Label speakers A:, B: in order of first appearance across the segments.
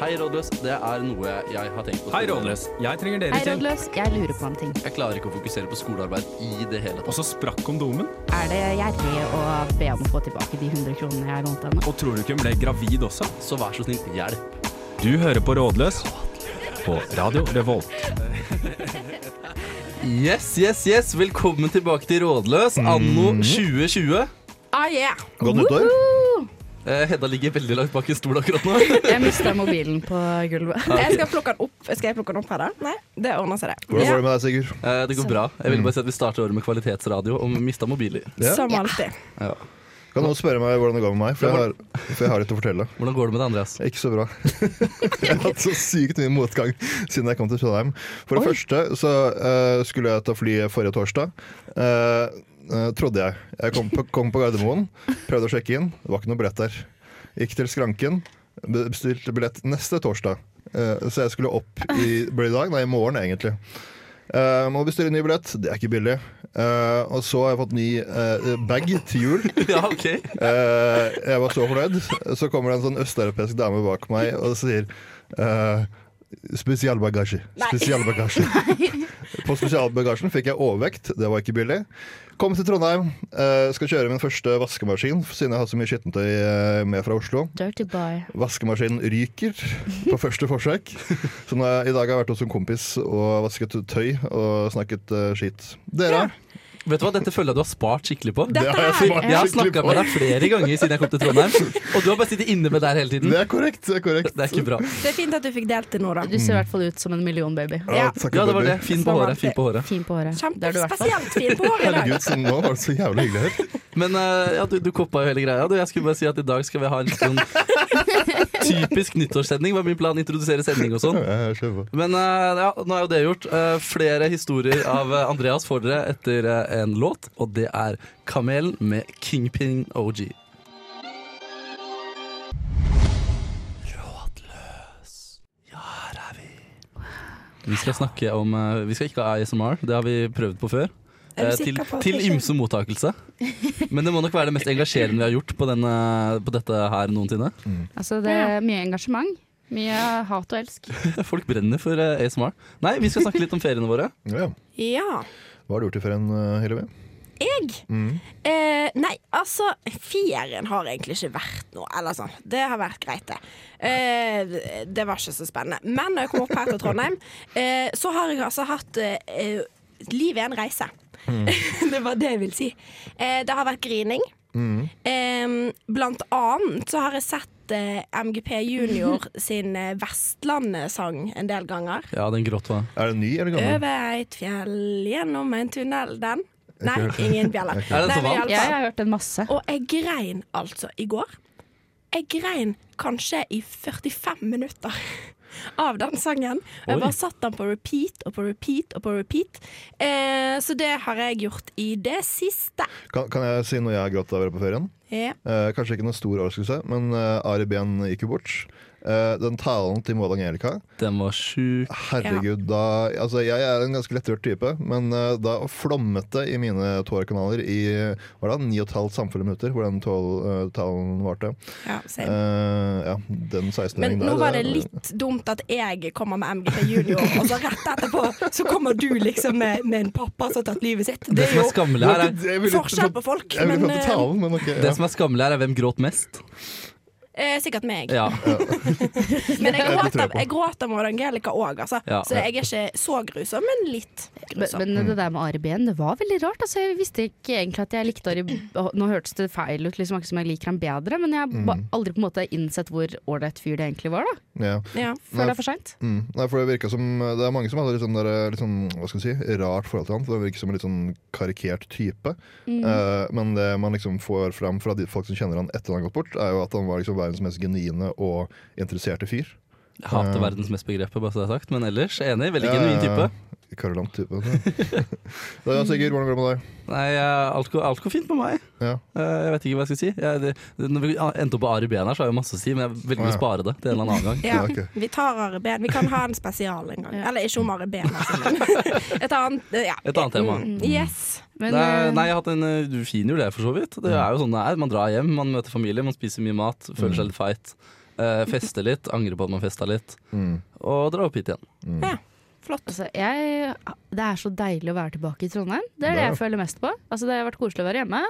A: Hei, rådløs. Det er noe jeg har tenkt på.
B: Hei, Rådløs. Jeg trenger dere
C: Hei,
B: til.
C: rådløs. Jeg lurer på en ting.
A: Jeg klarer ikke å fokusere på skolearbeid i det hele
B: Og
A: tatt.
B: så sprakk kondomen.
C: Er det gjerrig å be om å få tilbake de 100 kronene jeg lånte henne?
B: Og tror du ikke hun ble gravid også?
A: Så vær så snill, hjelp.
B: Du hører på Rådløs på Radio Revolt.
A: Yes, yes, yes. Velkommen tilbake til Rådløs anno 2020.
C: Ah, yeah.
D: Godt nyttår.
C: Woohoo!
A: Eh, Hedda ligger veldig langt bak i stol akkurat nå.
C: Jeg mista mobilen på gulvet.
E: Jeg skal plukke den opp. Skal jeg plukke den opp her, da? Nei, det ordner seg, det.
D: Hvordan
E: Ja,
D: går det med deg, Sigurd?
A: Eh, Det går bra. Jeg ville bare si at vi starter året med kvalitetsradio og mista mobiler.
D: Ja.
E: Som alltid.
A: Ja.
D: Kan noen spørre meg hvordan det går med meg? For jeg har, for jeg har litt å fortelle.
A: Hvordan går det med deg, Andreas?
D: Ikke så bra. jeg har hatt så sykt mye motgang siden jeg kom til Trondheim. For det første så eh, skulle jeg ta flyet forrige torsdag. Eh, eh, trodde jeg. Jeg kom på, kom på Gardermoen, prøvde å sjekke inn. Det var ikke noe billett der. Gikk til skranken, be- bestilte billett neste torsdag. Eh, så jeg skulle opp i, ble det i dag, nei, i morgen egentlig. Eh, må bestille ny billett. Det er ikke billig. Eh, og så har jeg fått ny eh, bag til jul.
A: Ja, ok.
D: Eh, jeg var så fornøyd. Så kommer det en sånn østeuropeisk dame bak meg og sier eh, Spesialbagasje. Spesialbagasje. På spesialbagasjen fikk jeg overvekt, det var ikke billig. Kom til Trondheim, eh, skal kjøre min første vaskemaskin, siden jeg har så mye skittentøy eh, med fra Oslo.
C: Dirty boy.
D: Vaskemaskinen ryker på første forsøk. Så nå, i dag har jeg vært hos en kompis og vasket tøy og snakket eh, skit. Dere?
A: Vet du hva, Dette føler jeg du har spart skikkelig på.
D: Det har jeg
A: For
D: smakt
A: jeg har
D: skikkelig
A: snakka
D: på.
A: med deg flere ganger siden jeg kom til Trondheim, og du har bare sittet inne med der hele tiden.
D: Det er korrekt. Det er korrekt.
A: Det er ikke bra.
E: Det er fint at du fikk delt det nå, da.
C: Du ser i hvert fall ut som en millionbaby.
E: Ja.
D: takk,
A: Ja, det var
D: baby.
A: det. Fin på
E: Som
A: håret.
E: alltid.
A: fin på håret.
C: Fin på håret. Det er du i hvert fall.
E: Kjempespesielt fin på håret i dag.
D: Herregud, så nå var det så jævlig hyggelig her.
A: Men eh, ja, du, du koppa jo hele greia. Du, jeg skulle bare si at i dag skal vi ha en litt sånn typisk nyttårssending. Var min plan å introdusere sending og sånn.
D: Ja, jeg kjører på.
A: Men eh, ja, nå er jo det gjort. Eh, flere historier av eh, Andreas får dere etter eh, en låt, og det er 'Kamelen' med Kingpin OG. Rådløs. Ja, her er vi. Vi skal snakke om eh, Vi skal ikke ha ASMR, det har vi prøvd på før.
E: Er du
A: Eh, til
E: sikker på at
A: til
E: det skjer?
A: ymse mottakelse. Men det må nok være det mest engasjerende vi har gjort på, denne, på dette her noensinne.
C: Altså, det er mye engasjement. Mye hat og elsk.
A: Folk brenner for eh, ASMR. Nei, vi skal snakke litt om feriene våre.
D: Ja.
E: Ja.
D: Hva har du gjort i ferien, eh, Hillevi?
E: Jeg? Eh, nei, altså Ferien har egentlig ikke vært noe. Eller sånn. Det har vært greit, det. Eh, det var ikke så spennende. Men når jeg kom opp her til Trondheim, eh, så har jeg altså hatt eh, eh, Livet er en reise. det var det jeg ville si. Eh, det har vært grining. Eh, blant annet så har jeg sett eh, MGP Junior sin eh, Vestlandet-sang en del ganger.
A: Ja, den gråta.
D: Er den ny eller gammel?
E: Over et fjell, gjennom en tunnel Den? Nei,
D: hørt den.
E: ingen bjeller.
A: Er den så
E: Nei, men
A: varm?
E: i alle
C: Ja, jeg
E: fall.
C: har hørt den masse.
E: Og jeg grein altså i går. Jeg grein kanskje i 45 minutter av den sangen. Og
A: Oi.
E: jeg bare satt den på repeat og på repeat og på repeat. Eh, så det har jeg gjort i det siste.
D: Kan, kan jeg si noe jeg har grått av å være på ferien?
E: Ja.
D: Eh, kanskje ikke noen stor overraskelse, men eh, Ari Behn gikk jo bort. Eh, den talen til Maud Angelica
A: Den var sjuk.
D: Herregud, da Altså, jeg er en ganske lettrørt type, men eh, da flommet det i mine tårekanaler i Var det ni og et halvt samfulle minutter hvor den tål, eh, talen varte.
E: Ja, same.
D: Eh, ja, den eh, 16-åringen
E: Men nå var det litt dumt at jeg kommer med MGP Junior, og så rett etterpå så kommer du liksom med, med en pappa som har tatt livet sitt.
A: Det
E: Det er
A: som er
E: jo
A: skammelig her, er,
D: Jeg ville-
E: forskjell på folk,
D: Jeg ville
E: men,
D: fått
E: eh,
D: til talen, men ok.
A: det
D: Ja.
A: som er skammelig her er hvem gråt mest.
E: eh, sikkert meg.
A: Ja.
E: Men jeg
D: Det
E: gråt
D: tror jeg
E: av,
D: på.
E: jeg gråt av Maud Angelica òg, altså.
A: Ja.
E: Så jeg er ikke så grusom, men litt
C: Men,
E: grusom.
C: men det der med Ari Behn, det var veldig rart. Altså, jeg visste ikke egentlig at jeg likte Ari Nå hørtes det feil ut, liksom, akkurat som jeg liker ham bedre, men jeg har ba-
E: Mm.
C: aldri på en måte innsett hvor ålreit fyr det egentlig var, da.
D: Ja.
E: Ja.
C: Før det er for seint.
D: Mm. Nei, for Det virka som Det er mange som hadde litt sånn, der, litt sånn hva skal jeg si, rart forhold til han. for Det virker som en litt sånn karikert type.
C: Mm.
D: Eh, men det man liksom får fram fra de folk som kjenner han etter han har gått bort, er jo at han var liksom verdens mest genuine og interesserte fyr.
A: Jeg hater verdens mest begrepet, bare så det er sagt. Men ellers enig. Veldig genuin type.
D: Eh, Karolant type. da er Sigurd, hvordan går det med deg?
A: Nei, eh, alt går, alt går fint med meg.
D: Ja.
A: Eh, Jeg vet ikke hva jeg skal si. Jeg, det, når vi endte opp på Ari Behn her, så har jeg masse å si, men jeg velger å spare det til en eller annen gang.
E: Ja,
D: ok.
E: vi tar Ari Behn. Vi kan ha en spesial en gang. Eller ikke om Ari Behn, altså. men Et annet eh, ja.
A: Et annet tema.
E: Mm, Yes.
C: Men
A: Nei,
C: eh,
A: nei, jeg har hatt en eh, fin jul, jeg, for så vidt. Det er jo sånn det er. Man drar hjem, man møter familie, man spiser mye mat, føler seg litt feit. eh, feste litt, angre på at man festa litt,
D: Mm.
A: og dra opp hit igjen.
E: Flott.
C: Altså, jeg, det er så deilig å være tilbake i Trondheim. Det er det
D: Ja.
C: jeg føler mest på. Altså, det har vært koselig å være hjemme,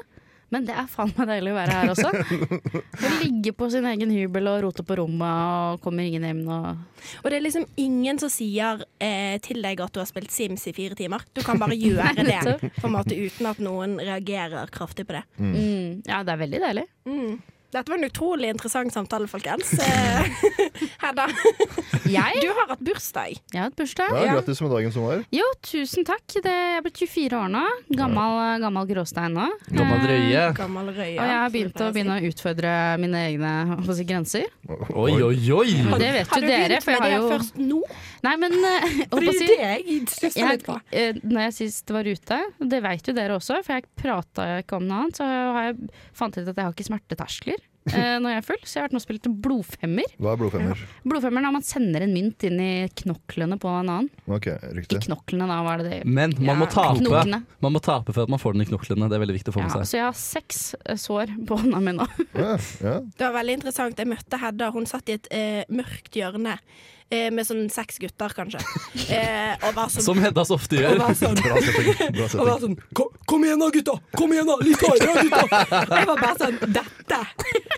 C: men det er faen meg deilig å være her også. Å ligge på sin egen hybel og rote på rommet og kommer ingen hjem og
E: Og det er liksom ingen som sier eh, til deg at du har spilt Sims i fire timer. Du kan bare gjøre det på en måte uten at noen reagerer kraftig på det. Mm.
C: mm, Ja, det er veldig deilig.
E: Dette var en utrolig interessant samtale, folkens. Eh, Hedda,
C: Jeg,
E: du har hatt bursdag.
C: jeg har hatt bursdag.
D: Ja, Grattis med dagen som var.
C: Jo, tusen takk. Det, jeg er blitt 24 år nå. Gammel, eh, gammel gråstein nå. Eh,
A: Gammel drøye.
E: Gammel røye.
C: Og jeg har begynt å, begynne å utfordre mine egne hva skal jeg si, grenser.
A: Oi, oi, oi!
C: Det vet jo
E: Har altså. du
C: dere,
E: begynt
C: for jeg har
E: med det
C: jo
E: først nå?
C: Nei, men eh,
E: For
C: håper å
E: det er
C: si-
E: jo det jeg stusser
C: jeg,
E: litt på.
C: eh, når jeg sist var ute, og det vet jo dere også, for jeg prata ikke om noe annet, så har jeg fant ut at jeg har ikke smerteterskler eh, når jeg er full, så jeg har vært med og spilt blodfemmer.
D: Hva er blodfemmer?
C: Blodfemmer er når man sender en mynt inn i knoklene på en annen.
D: Ok, riktig.
C: Ikke knoklene, da, hva er det det
A: Men man må
E: Ja,
A: tape
C: knokene.
A: Man må tape for at man får den i knoklene. Det er veldig viktig å få
C: ja,
A: med seg.
C: Så jeg har seks eh, sår på hånda mi nå.
D: Ja, ja.
E: Det var veldig interessant. Jeg møtte Hedda. Hun satt i et eh, mørkt hjørne eh, med sånn seks gutter, kanskje. Eh, og var sånn,
A: Som Hedda så ofte
E: og
A: gjør.
E: var sånn
D: Bra setting. Bra
E: Og var
D: setting.
E: sånn kom, kom igjen da, gutta! Kom igjen da! Litt hardere, gutta! Jeg var bare sånn Dette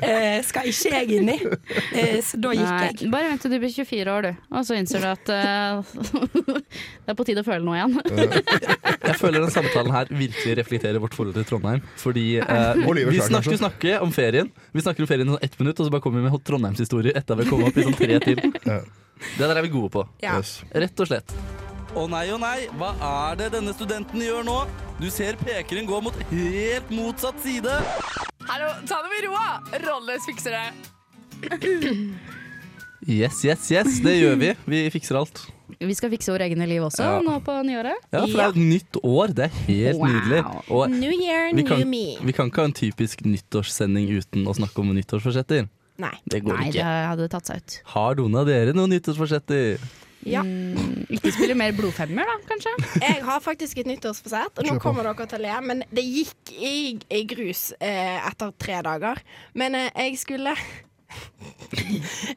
E: eh, skal ikke jeg inn i. Eh, så da gikk
C: Nei,
E: jeg.
C: bare vent til du blir 24 år, du. Og så innser du at eh, det er på tide å føle noe igjen.
A: Jeg føler den samtalen her virkelig reflekterer vårt forhold til Trondheim. Fordi eh,
D: Og livet
A: vi
D: selv,
A: snakker,
D: kanskje.
A: snakker om ferien Vi snakker om ferien i sånn ett minutt, og så bare kommer vi med Trondheimshistorier etter at vi har kommet opp i sånn tre til.
D: Ja.
A: Det der er vi gode på.
E: Ja.
D: Yes.
A: Rett og slett. Å nei, å nei, hva er det denne studenten gjør nå? Du ser pekeren gå mot helt motsatt side.
F: Hallo, ta det med ro, da! Rolleløs fikser det.
A: Yes, yes, yes, det gjør vi. Vi fikser alt.
C: Vi skal fikse våre egne liv også
A: Ja.
C: nå på nyåret.
A: Ja, for det er et nytt år. Det er helt
C: Wow.
A: nydelig. Og
E: New year,
A: vi
E: new
A: kan,
E: me.
A: vi kan ikke ha en typisk nyttårssending uten å snakke om nyttårsforsetter.
E: Nei.
A: Det går
C: Nei, det
A: ikke.
C: hadde tatt seg ut.
A: Har noen av dere noen nyttårsforsetter?
E: Ja.
C: Mm, ikke spille mer blodfemmer, da, kanskje?
E: Jeg har faktisk et nyttårsforsett, og nå
D: Kjør på.
E: kommer dere til å le, men det gikk i, i grus eh, etter tre dager. Men eh, jeg skulle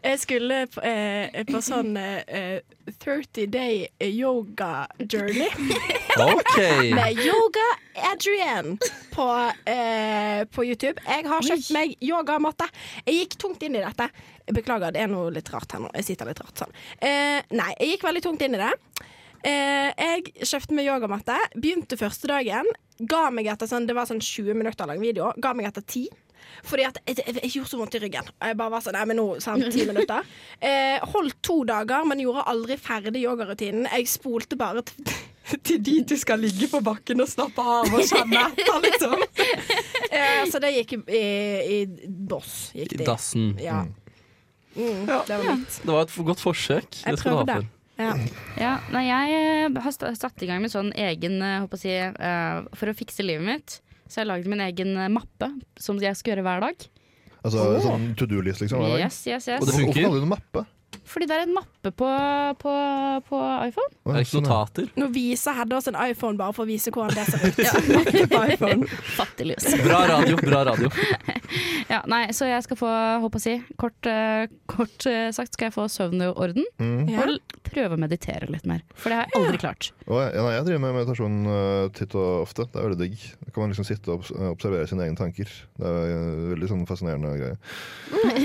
E: Jeg skulle på, eh, på sånn eh, eh, 30 day yoga journey.
A: OK.
E: med Yoga Adrian på, eh, på YouTube. Jeg har kjøpt meg yogamatte. Jeg gikk tungt inn i dette. Beklager, det er noe litt rart her nå. Jeg sitter litt rart sånn. Eh, nei, jeg gikk veldig tungt inn i det. Eh, jeg kjøpte meg yogamatte, begynte første dagen. Ga meg etter sånn, Det var sånn 20 minutter lang video. Ga meg etter 10. Fordi at jeg, jeg, jeg gjorde så vondt i ryggen. Og Jeg bare var sånn, nei, men nå, sant, ti minutter eh, Holdt to dager, men gjorde aldri ferdig yogarutinen. Jeg spolte bare til, til dit du skal ligge på bakken og slappe av og kjenne etter, liksom. Eh, så det gikk i, i, i boss. Gikk
A: I
E: det.
A: dassen.
E: Ja. Mm, det var mitt.
A: Det var et godt forsøk. Det
E: Jeg
A: skal du ha
E: prøvde.
A: for.
E: Ja.
C: Ja, nei, jeg eh, har sta- satt i gang med sånn egen eh, håper jeg, å si, eh, For å fikse livet mitt. Så jeg har lagd min egen eh, mappe som jeg skal gjøre hver dag.
D: Altså sånn to do-list, liksom? hver dag.
C: Yes, yes,
A: Og
C: yes.
A: det funker.
D: Hvorfor kaller du det mappe?
C: Fordi det er en mappe på, på, på iPhone.
D: Å,
A: Er det ikke
D: sånn, ja.
A: notater?
E: Nå viser Hedda oss en iPhone bare for å vise hvordan det ser ut. Ja.
C: Fattigløs.
A: Bra radio, bra radio.
C: Ja, nei, så jeg skal få, håper jeg å si, kort, eh, kort eh, sagt skal jeg få søvn og orden.
D: Mm.
E: Ja.
C: Og l- prøve å meditere litt mer. For det har jeg aldri klart.
D: Å, ja, nei, jeg driver med meditasjon eh, titt og ofte. Det er veldig digg. Da kan man liksom sitte og obs- observere sine egne tanker. Det er eh, veldig sånn fascinerende greie.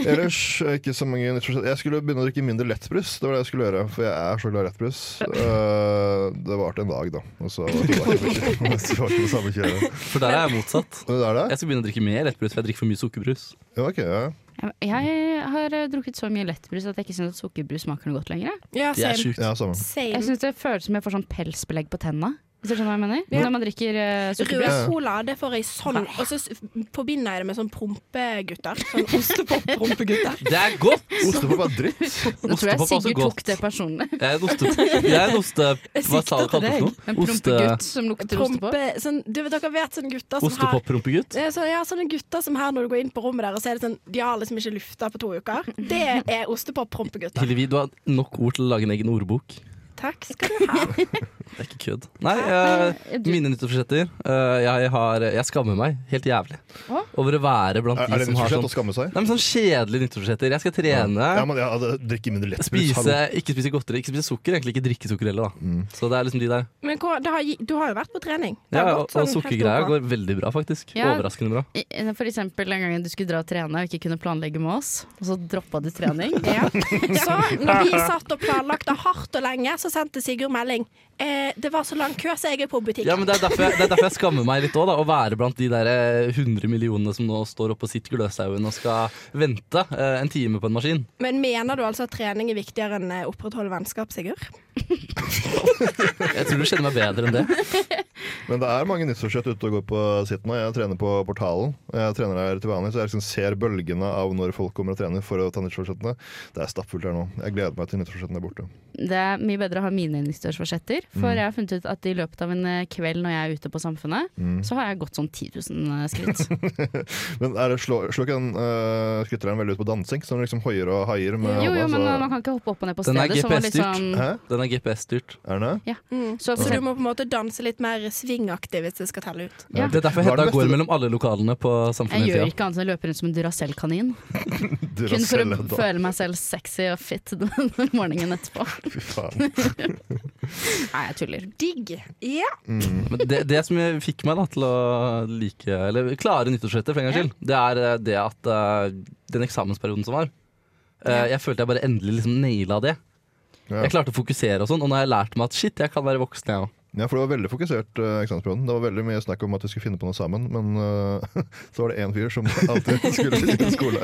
D: Ellers eh, ikke så mange nyttårsforsett. Jeg skulle begynne å drikke mindre lettbrus. Det var det jeg skulle gjøre, for jeg er så glad i lettbrus. Eh, det varte en dag, da. Og så var det tilbake Så var det på samme kjøret.
A: For der er jeg motsatt.
D: Men det er det?
A: Jeg skal begynne å drikke mer lettbrus, for jeg drikker for mye sukkerbrus.
D: Ja, ok, ja.
C: Jeg, jeg har eh, drukket så mye lettbrus at jeg ikke syns at sukkerbrus smaker noe godt lenger. jeg.
E: Ja,
A: Det er
E: same.
A: sjukt.
D: ja samme.
C: Jeg
E: same.
C: syns det føles som jeg får sånn pelsbelegg på tenna. Hvis du skjønner hva jeg mener?
E: Ja.
C: Når man drikker eh, sukkerbrus.
E: Rød cola, det får jeg sånn. Og så s- forbinder jeg det med sånn prompegutter. Sånn ostepop-prompegutter.
A: Det er godt!
D: Ostepop er dritt.
C: Nå tror
A: ostepop
C: jeg
A: er også
C: Sigurd
A: godt.
C: tok det personlig.
A: Jeg er en oste... Jeg er en oste hva sa
E: sikter
A: kalte
E: til
A: du
E: deg.
A: for
C: En
A: noe? Oste...
C: prompegutt som lukter ostepop.
E: Prompe, sånn, du vet, dere vet sånne gutter som har
A: Ostepop-prompegutt?
E: Eh, så, ja, sånne gutter som her når du går inn på rommet der og ser det sånn De har liksom ikke lufta på to uker. Det er ostepop-prompegutter.
A: Hillevi, du har nok ord til å lage en egen ordbok.
E: Takk skal du ha.
A: Det er ikke kødd. Nei, eh,
C: du-
A: mine nyttårsforsetter. eh, jeg, har, jeg skammer meg helt jævlig
C: Å?
A: over å være blant
D: Er,
A: de
D: er det
A: som har
D: nyttårsforsett
A: sånn
D: å skamme seg?
A: Nei, men sånn kjedelige nyttårsforsetter. Jeg skal trene,
D: Ja, men ja, det- Drikke mindre lettbrus.
A: spise,
D: hallo.
A: ikke spise godteri, ikke spise sukker. Egentlig ikke drikke sukker heller, da.
D: Mm.
A: Så det er liksom de der.
E: Men hvor, det har, gi- du har jo vært på trening. Det har
A: Ja,
E: gått
A: og,
E: sånn
A: og
E: helt
A: sukkergreia
E: ok.
A: går veldig bra, faktisk.
C: Ja.
A: Overraskende bra.
C: I- For eksempel den gangen du skulle dra og trene og ikke kunne planlegge med oss, og så droppa du trening.
E: Ja. Så når vi satt og planlagte hardt og lenge, så sendte Sigurd melding. Eh, det var så lang kø, så jeg er på butikken.
A: Ja, men det er, derfor jeg, det er derfor jeg skammer meg litt òg, da. Å være blant de der eh, 100 millionene som nå står oppå sitt Gløshaugen og skal vente eh, en time på en maskin.
E: Men mener du altså at trening er viktigere enn eh, å opprettholde vennskap, Sigurd?
A: Jeg tror du kjenner meg bedre enn det.
D: Men det er mange nyttårsforsett ute og går på sitt nå. Jeg trener på Portalen. Jeg trener der til vanlig, så jeg liksom ser bølgene av når folk kommer og trener for å ta nyttårsforsettene. Det er stappfullt her nå. Jeg gleder meg til nyttårsforsettene er borte.
C: Det er mye bedre å ha mine nyttårsforsetter,
A: Mm.
C: for jeg har funnet ut at i løpet av en eh, kveld når jeg er ute på Samfunnet,
A: Mm.
C: så har jeg gått sånn 10 000 skritt.
D: Men er det slår slå ikke den uh, skrytteren veldig ut på dansing? Så den liksom hoier og haier med
C: Jo, jo, men eh,
D: så-
C: man kan ikke hoppe opp og ned på
A: altså. Den er
C: stedet. Så, var litt
A: GPS-styrt.
C: sånn-
D: Hæ?
A: Den er GPS-styrt.
D: Er den det?
C: så,
E: Så du må på en måte danse litt mer svingaktig hvis det skal telle ut.
C: Ja.
A: Det er derfor
D: Hva er det
A: Hedda
D: beste
A: går
D: du-
A: mellom alle lokalene på
C: jeg
A: Samfunnet
C: gjør
A: hele tida.
C: ikke annet enn å løpe rundt som en Duracell-kanin. Kun
D: Du
C: for å
D: raselle, da.
C: føle meg selv sexy og fit den morgenen etterpå.
D: Fy faen.
C: Nei, jeg tuller.
E: Digg. Ja.
D: Mm.
A: Men det, det som jeg fikk meg da, til å like, eller klare nyttårsforsettet for en gangs skyld, det er eh, det at eh, den eksamensperioden som var, eh, jeg følte jeg bare endelig liksom naila det.
D: Ja.
A: Jeg klarte å fokusere og sånn, og nå har jeg lært meg at shit, jeg kan være voksen, jeg òg.
D: ja, for det var veldig fokusert eh, eksamensperioden. Det var veldig mye snakk om at vi skulle finne på noe sammen, men eh, så var det én fyr som alltid skulle til skole.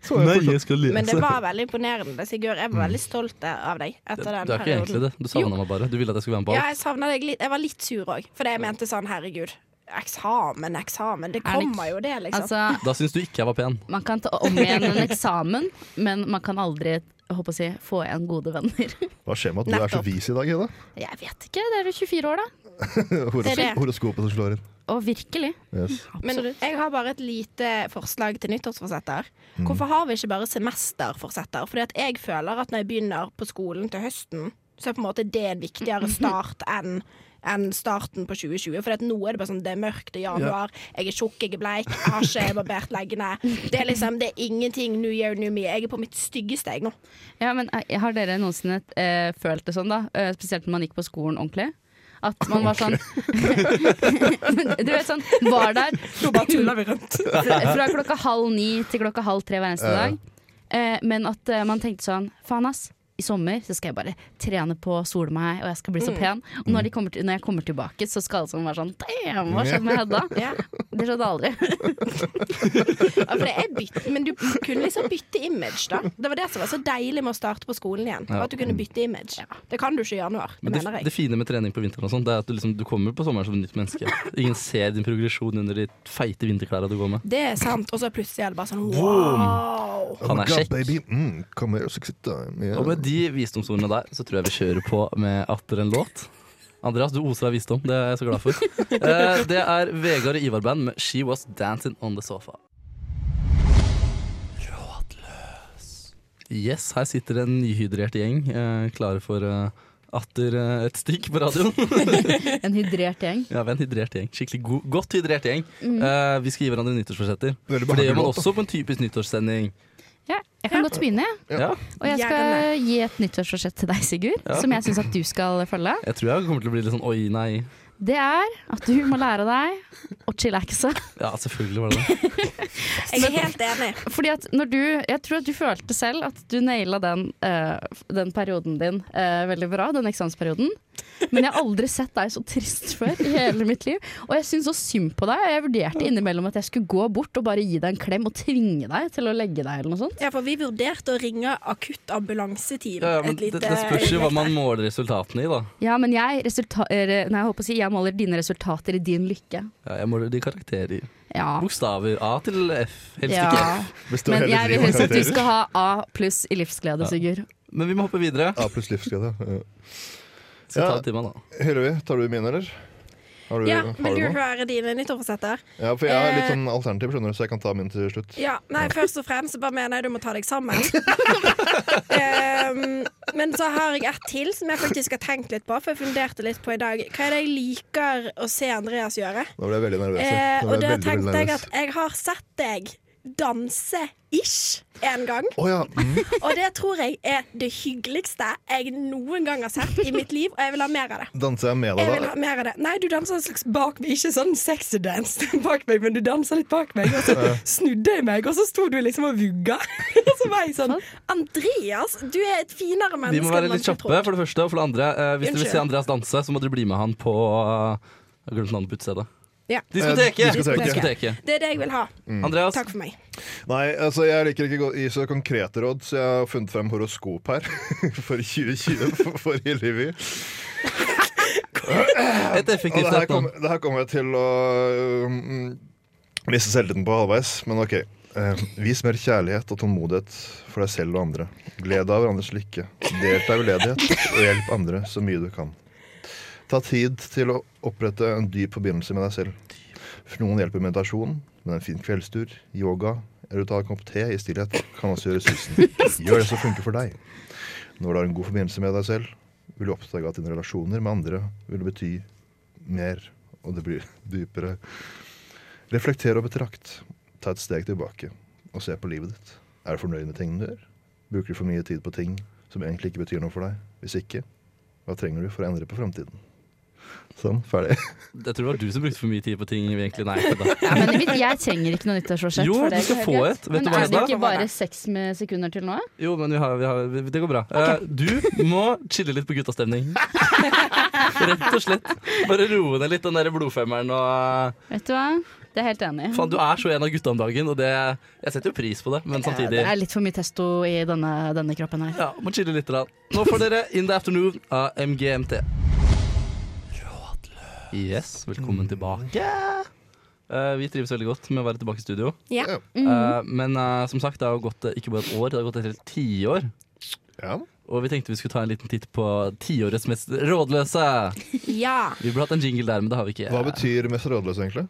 D: Så var jeg fortsatt-
A: jeg skal
E: Men det var veldig imponerende, Sigurd. Jeg var veldig stolt av deg
A: Du
E: etter
A: er
E: den
A: ikke egentlig
E: perioden.
A: Mm. det. Du savna meg bare. Du ville at jeg skulle være med på
E: Ja,
A: alt.
E: jeg savna deg litt. Jeg var litt sur òg, fordi jeg mente sånn herregud. Eksamen, eksamen.
C: Er
E: Det
C: det ikke-
E: kommer jo, det, liksom.
C: Altså,
A: Da syns du ikke jeg var pen.
C: man kan ta om igjen en eksamen, men man kan aldri jeg håper å si, få igjen gode venner.
D: Hva skjer med at du er så
E: Nettopp.
D: vis i dag, Hedda?
C: Jeg vet ikke, det er jo 24 år, da.
E: Det er det.
D: Horos horoskopet som slår inn.
C: Og virkelig.
D: Yes.
E: Men jeg har bare et lite forslag til nyttårsforsetter. Hvorfor har vi ikke bare semesterforsetter? Fordi at jeg føler at når jeg begynner på skolen til høsten, så er på en måte det en viktigere start enn enn starten på 2020. For at nå er det bare sånn det er mørkt i januar, jeg er tjukk, jeg er bleik, jeg har ikke barbert leggene. Det er liksom, det er ingenting new year, new me. Jeg er på mitt styggeste jeg nå.
C: Ja, men eh, Har dere noensinne eh, følt det sånn, da? Eh, spesielt når man gikk på skolen ordentlig? At man var sånn Du vet sånn, var der
E: Nå bare tuller vi rundt.
C: fra, fra klokka halv ni til klokka halv tre hver eneste dag. Eh, men at eh, man tenkte sånn Faen, ass. I sommer så skal jeg bare trene på å sole meg, og jeg skal bli så pen. Og når, de kommer til, når jeg kommer tilbake, så skal alle sammen være sånn Damn, hva skjedde med Hedda?
E: Ja.
C: Det skjedde aldri.
E: Ja, for det er bytt, men du kunne liksom bytte image, da. Det var det som var så deilig med å starte på skolen igjen.
A: Ja.
E: At du kunne bytte image. Det kan du ikke i januar, det
A: Men det,
E: mener
A: det
E: jeg.
A: fine med trening på vinteren og sånn, det er at du, liksom, du kommer på sommeren som et nytt menneske. Ingen ser din progresjon under de feite vinterklærne du går med.
E: Det er sant. Og så plutselig er det bare sånn wow.
A: Han
D: Oh my
A: er
D: God,
A: kjekk.
D: Baby. Mm, come here, sexy time. Yeah.
A: Og med de visdomsordene der, så tror jeg vi kjører på med atter en låt. Andreas, du oser av visdom. Det er jeg så glad for. Eh, Det er Vegard og Ivar-band med She Was Dancing On The Sofa. Rådløs. Yes, her sitter en nyhydrert gjeng eh, klare for eh, atter eh, et stikk på radioen.
C: En hydrert gjeng.
A: Ja, vi er en hydrert gjeng. Skikkelig god, godt hydrert gjeng. Eh, vi skal gi hverandre nyttårsforsetter.
D: Mm. Veldig
A: For det gjør man
D: behagelig låt, da.
A: også på en typisk nyttårssending.
C: Ja, jeg kan godt begynne, jeg.
A: Ja.
C: Og jeg
E: Gjerne.
C: skal gi et nyttårsforsett til deg, Sigurd,
A: Ja.
C: som jeg syns at du skal følge.
A: Jeg tror jeg kommer til å bli litt sånn oi, nei.
C: Det er at du må lære deg å chillaxe.
A: Ja, selvfølgelig var det det.
E: Jeg er helt enig.
C: Fordi at når du, Jeg tror at du følte selv at du naila den, eh, den perioden din eh, veldig bra. Den eksamensperioden. Men jeg har aldri sett deg så trist før i hele mitt liv. Og jeg syns så synd på deg. og Jeg vurderte innimellom at jeg skulle gå bort og bare gi deg en klem og tvinge deg til å legge deg. eller noe sånt.
E: Ja, for vi vurderte å ringe akutt ambulanseteam.
A: Ja, ja, men
E: et
A: det,
E: lite
A: det spørs jo hva
E: øyeblikk der.
A: man måler resultatene i, da.
C: Ja, men jeg, resulta- er- nei, jeg, håper å si, jeg måler dine resultater i din lykke.
A: Ja, jeg måler de karakterer.
C: Ja.
A: Bokstaver A til F. Helst ikke
C: ja.
A: F.
D: Består
C: Men
D: hele
C: jeg
D: livet
C: vil helst at du
D: karakterer.
C: skal ha A pluss i livsglede, Sigurd.
A: Men vi må hoppe videre.
D: Eh, A pluss livsglede. Ja.
A: Skal
D: Ja.
A: ta det til meg, da.
D: Hyllevi, tar du min, eller? Har du,
E: Ja,
D: har
E: vil
D: du
E: du
D: noe?
E: høre dine nyttårsforsetter?
D: Ja, for jeg har litt
E: Eh.
D: sånn alternativ, skjønner du, så jeg kan ta min til slutt.
E: Ja, nei, først og fremst så bare mener jeg du må ta deg sammen. Ehm, men så har jeg ett til som jeg faktisk har tenkt litt på, for jeg funderte litt på i dag. Hva er det jeg liker å se Andreas gjøre?
D: Nå ble jeg veldig nervøs.
E: Eh,
A: Altså,
D: Nå ble
E: og
D: jeg
E: da
D: veldig, veldig
E: tenkte jeg
D: nervøs.
E: at jeg har sett deg danse-ish en gang.
D: Å ja. Mm.
E: Og det tror jeg er det hyggeligste jeg noen gang har sett i mitt liv, og jeg vil ha mer av det.
D: Danser jeg med
E: Jeg
D: deg,
E: vil ha
D: da?
E: mer av det. Nei, du danser en slags bak meg, ikke sånn sexy dance bak meg, men du danser litt bak meg. Og så snudde jeg meg, og så sto du liksom og vugga. Og så var jeg sånn Andreas, du er et finere
A: Vi
E: menneske
A: må
E: enn
A: være
E: man
A: litt
E: skulle
A: kjappe,
E: trodd.
A: for det første. Og for det andre, eh, hvis dere vil
E: Unnskyld.
A: se Andreas danse, så må dere bli med han på eh, Jeg har glemt navnet på utestedet.
E: Ja.
A: Diskoteket!
D: Eh, diskoteket. Mm.
A: På diskoteket.
E: Det er det jeg vil ha.
A: Andreas,
E: Takk for meg.
D: Nei, altså jeg liker ikke å gi så konkrete råd, så jeg har funnet frem horoskop her. For 2020 for- for i livet.
A: et
D: Og
A: effektivt
D: det her
A: et nå.
D: kommer kom jeg til å um, miste selvtilliten på halvveis, men OK. Eh, vis mer kjærlighet og tålmodighet for deg selv og andre. Gled deg av hverandres lykke. Delta i veldedighet og hjelp andre så mye du kan. Ta tid til å opprette en dyp forbindelse med deg selv. For noen hjelper meditasjon, men en fin kveldstur, yoga eller å ta en kopp te i stillhet kan også gjøre susen. Gjør det som funker for deg. Når du har en god forbindelse med deg selv, vil du oppdage at dine relasjoner med andre vil bety mer, og det blir dypere. Reflekter og betrakt. Ta et steg tilbake og se på livet ditt. Er du fornøyd med tingene du gjør? Bruker du for mye tid på ting som egentlig ikke betyr noe for deg? Hvis ikke, hva trenger du for å endre på fremtiden? Sånn, ferdig.
A: Jeg tror det var du som brukte for mye tid på ting vi egentlig Nei, kødda.
C: Ja, men mitt- jeg trenger ikke noe nyttårsforsett.
A: Jo,
C: for det
A: du skal
C: går
A: få
C: greit.
A: et. Vet
C: Men
A: du hva,
C: er det
A: Hedda?
C: ikke bare seks med sekunder til nå?
A: Jo, men vi har, vi har, vi- det går bra. Eh, Du må chille litt på guttastemning. Rett og slett. Bare roe ned litt den der blodfemmeren og eh,
C: Vet du hva? Det er jeg helt enig. i.
A: Faen, du er så en av gutta om dagen, og det Jeg setter jo pris på det, men
C: Det
A: samtidig
C: er litt for mye testo i denne, denne kroppen her.
A: Ja, må chille litt. Da. Nå får dere In the Afternoon av MGMT. Yes, velkommen tilbake. Eh, vi trives veldig godt med å være tilbake i studio.
E: Ja.
A: Eh, men eh, som sagt, det har jo gått eh, ikke bare et år, det har gått et helt tiår.
D: Ja.
A: Og vi tenkte vi skulle ta en liten titt på tiårets mest rådløse.
E: ja.
A: Vi burde hatt en jingle der, men det har vi ikke.
D: Hva betyr mest rådløs, egentlig?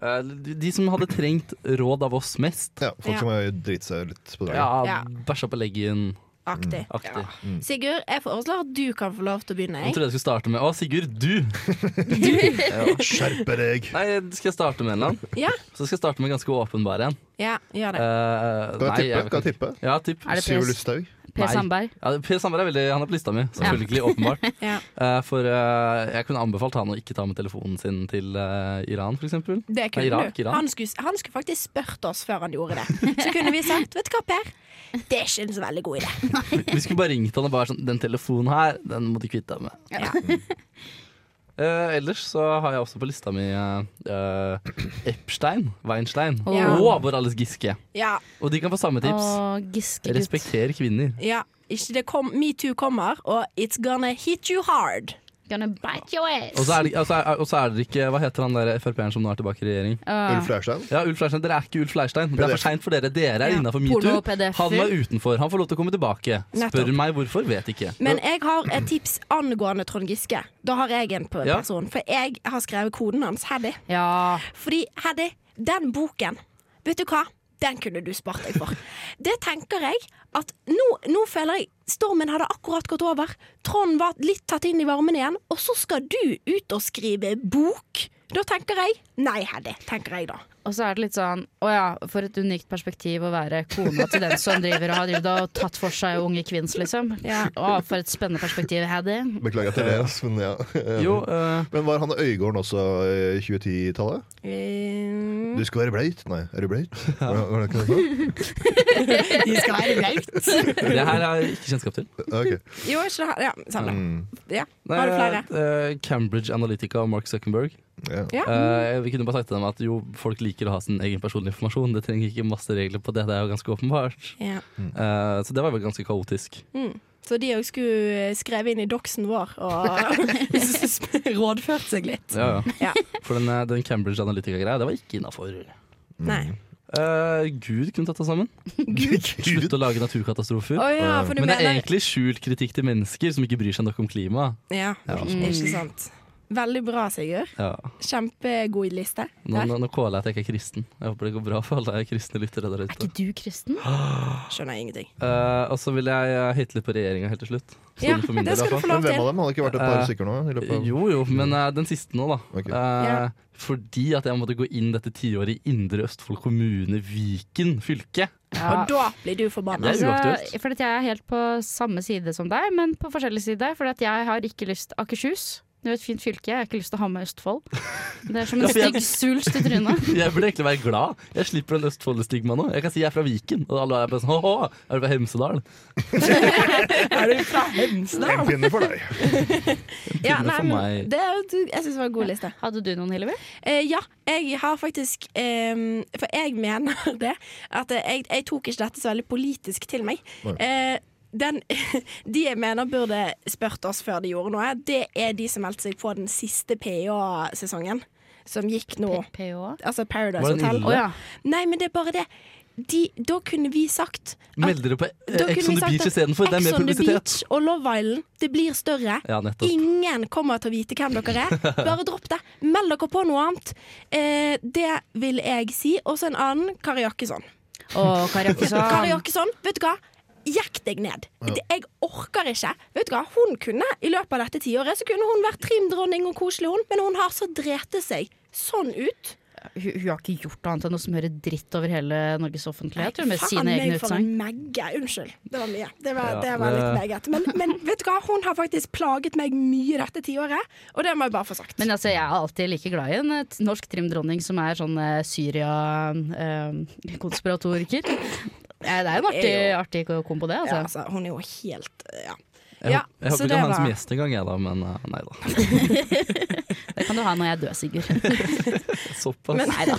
A: Eh, De som hadde trengt råd av oss mest.
D: Ja, Folk som har driti seg litt på dagen.
A: Ja,
E: Ja.
A: bæsja på leggen.
E: Aktig.
A: Mm, Aktig.
E: Ja. Sigurd, jeg foreslår at du kan få lov til å begynne.
A: Jeg
E: Jeg.
A: trodde jeg skulle starte med Å, Sigurd, du!
D: Skjerpe deg!
A: Nei, skal jeg starte med en eller annen?
E: Ja,
A: Så skal jeg starte med en ganske åpenbar en.
E: ja, gjør det.
A: Eh,
D: Kan
A: nei,
D: jeg tippe? Kan jeg tippe?
A: Ja, tipp.
C: Er det
D: Syv
C: Per,
D: Lysthaug?
A: Nei.
C: per Sandberg?
A: Ja, per Sandberg er veldig Han er på lista mi, selvfølgelig. Åpenbart.
E: Ja.
A: Eh, for eh, jeg kunne anbefalt han å ikke ta med telefonen sin til eh, Iran, for eksempel.
E: Det
A: Nei,
E: kunne
A: Irak,
E: du.
A: Iran.
E: Han skulle, han skulle faktisk spurt oss før han gjorde det. Så kunne vi sagt Vet du hva, Per? Det er ikke en så veldig god idé.
A: Vi skulle bare ringt han og bare sånn Den telefonen her, den må du kvitte deg med.
E: Ja.
A: Eh, ellers så har jeg også på lista mi eh, eh, Epstein, Weinstein
E: Ja.
A: og vår alles Giske.
E: Ja,
A: Og de kan få samme tips.
C: Og Giske gutt.
A: Respekter kvinner.
E: ja. Ikke det kom, Metoo kommer, og it's gonna hit you hard.
C: Gonna bite your ass.
A: Og så er, det- altså, er- og så er dere ikke Hva heter han der Frp-eren som nå er tilbake i regjering?
C: Ah.
D: Ulf Leirstein?
A: Ja, Ulf Leirstein. Dere er ikke Ulf Leirstein. Det er for seint for dere. Dere er
E: Ja.
A: innafor
C: Porno
A: metoo.
C: og PDF-er.
A: Han var utenfor. Han får lov til å komme tilbake. Spør
E: Nettopp.
A: meg hvorfor, vet ikke.
E: Men jeg har et tips angående Trond Giske. Da har jeg en på
A: Ja.
E: person. For jeg har skrevet koden hans, Heddy.
C: Ja.
E: Fordi, Heddy, den boken, vet du hva? Den kunne du spart deg for. Det tenker jeg at nå, nå føler jeg Stormen hadde akkurat gått over. Trond var litt tatt inn i varmen igjen. Og så skal du ut og skrive bok. Da tenker jeg Nei, Heddy, tenker jeg da.
C: Og så er det litt sånn Å ja, for et unikt perspektiv å være kona til den som driver og har drevet og tatt for seg unge kvinns, liksom.
E: Ja.
C: Å, for et spennende perspektiv, Haddy.
D: Beklager at jeg ler, altså, men ja.
A: Jo, eh,
D: Men var han Øygården også i 2010-tallet?
E: Eh,
A: Mm.
D: Du skal være bløyt? Nei, er du bløyt? Var det- var det ikke det han
E: de skal være blaut.
A: det her har jeg ikke kjennskap til.
D: sa? Ok. Mm,
E: Jo, ikke det. Ja, samme. Ja.
A: Nei,
E: Har du flere?
A: eh, Cambridge Analytica og Mark Zuckerberg.
D: Ja.
E: Ja.
A: Eh, vi kunne bare sagt til dem at jo, folk liker å ha sin egen personlig informasjon. Det trenger ikke masse regler på det. Det er jo ganske åpenbart.
E: Ja.
A: Eh, så det var vel ganske kaotisk.
E: Mm. Så de òg skulle eh, skrevet inn i doksen vår og rådført seg litt.
A: Ja, ja.
E: Ja.
A: For den, eh, den Cambridge Analytica-greia, det var ikke innafor.
D: Mm.
A: Eh,
E: Nei.
A: Gud kunne tatt det sammen. Slutt
D: Gud.
A: å lage naturkatastrofer.
E: Å ja, for du
A: Men det er
E: mener Mm.
A: egentlig skjult kritikk til mennesker som ikke bryr seg nok om klima.
E: Ja, ikke sant. Veldig bra, Sigurd.
A: Ja.
E: Kjempegod liste.
A: Nå,
E: Der.
A: nå, nå kåler jeg at jeg ikke er kristen. Jeg håper det går bra for alle kristne lyttere der
C: Er
A: ute.
C: ikke du kristen?
E: Skjønner jeg ingenting.
A: Eh, og så vil jeg eh, høyte litt på regjeringa helt til slutt. Sånn
E: Ja,
A: for min
E: det
A: del, i
E: skal
A: hvert fall.
E: du få
D: Men
E: lov til.
D: hvem av dem? Hadde det ikke vært et par
A: Eh,
D: stykker nå? I løpet av...
A: Jo jo, men eh, den siste nå, da.
D: Ok.
A: Eh,
E: Ja.
A: Fordi at jeg måtte gå inn dette tiåret i Indre Østfold kommune, Viken fylke.
E: Og da blir du forbanna.
A: Det er uaktuelt.
C: Altså, for at jeg er helt på samme side som deg, men på forskjellig side. For at jeg har ikke lyst Akershus. Det er jo et fint fylke. Jeg har ikke lyst til å ha med Østfold. Det er som en
A: Ja, for jeg-
C: stygg svulst i trynet.
A: Jeg burde egentlig være glad. Jeg slipper den Østfold-stigmaet nå. Jeg kan si jeg er fra Viken, og alle er bare sånn Hå-hå, er du fra Hemsedal?
E: Er du fra Hemsedal?
D: En pinne for deg.
E: Ja,
A: Pinne
E: nei,
A: for
E: men
A: meg.
E: det, du- jeg syns det var en god liste.
C: Hadde du noen, Hillevi?
E: Eh, ja, jeg har faktisk eh, For jeg mener det at jeg, jeg tok ikke dette så veldig politisk til meg.
D: Nei.
E: Eh, den, de jeg mener burde spurt oss før de gjorde noe, det er de som meldte seg på den siste PA-sesongen. Som gikk nå.
C: PH?
E: Altså Paradise
A: Var den
E: Hotel.
A: ille?
C: Å ja.
E: Nei, men det er bare det. De, da kunne vi sagt
A: Meld dere på
E: da
A: Ex
E: kunne
A: on
E: vi
A: the
E: sagt
A: Beach
E: at
A: istedenfor. Det er
E: Ex
A: mer
E: on the
A: publisitet.
E: Beach og Love Island, det blir større.
A: Ja, nettopp.
E: Ingen kommer til å vite hvem dere er. Bare dropp det. Meld dere på noe annet. Eh, det vil jeg si. Og så en annen. Kari Jakkesson.
C: Og Kari Jakkesson.
E: Kari Jakkesson, vet du hva? Jekk deg ned. Det- Jeg orker ikke. Vet du hva? Hun kunne, I løpet av dette tiåret så kunne hun vært trimdronning og koselig, hun, men hun har så drete seg sånn ut.
C: Hun, hun har ikke gjort annet enn noe som hører dritt over hele Norges offentlighet. Hun med
E: Faen
C: sine
E: meg
C: egne
E: for
C: utsagn.
E: en megge. Unnskyld. Det var mye. Det var,
A: Ja,
E: det var litt
A: det-
E: meget. Men, men vet du hva, hun har faktisk plaget meg mye dette tiåret, og det må jeg bare få sagt.
C: Men altså, jeg er alltid like glad i en eh, t- norsk trimdronning som er sånn eh, Syria-konspiratoriker. det er jo en artig, artig ko- kombo, det.
E: ja,
C: Altså.
E: altså, hun er jo helt eh, Ja.
A: Jeg,
E: Ja,
A: håper- jeg
E: så
A: håper
E: det
A: ikke han er
E: var-
A: som gjest en gang, jeg da, men eh, nei da.
C: Det kan du ha når jeg dør, Sigurd.
A: Såpass.
E: Men nei da.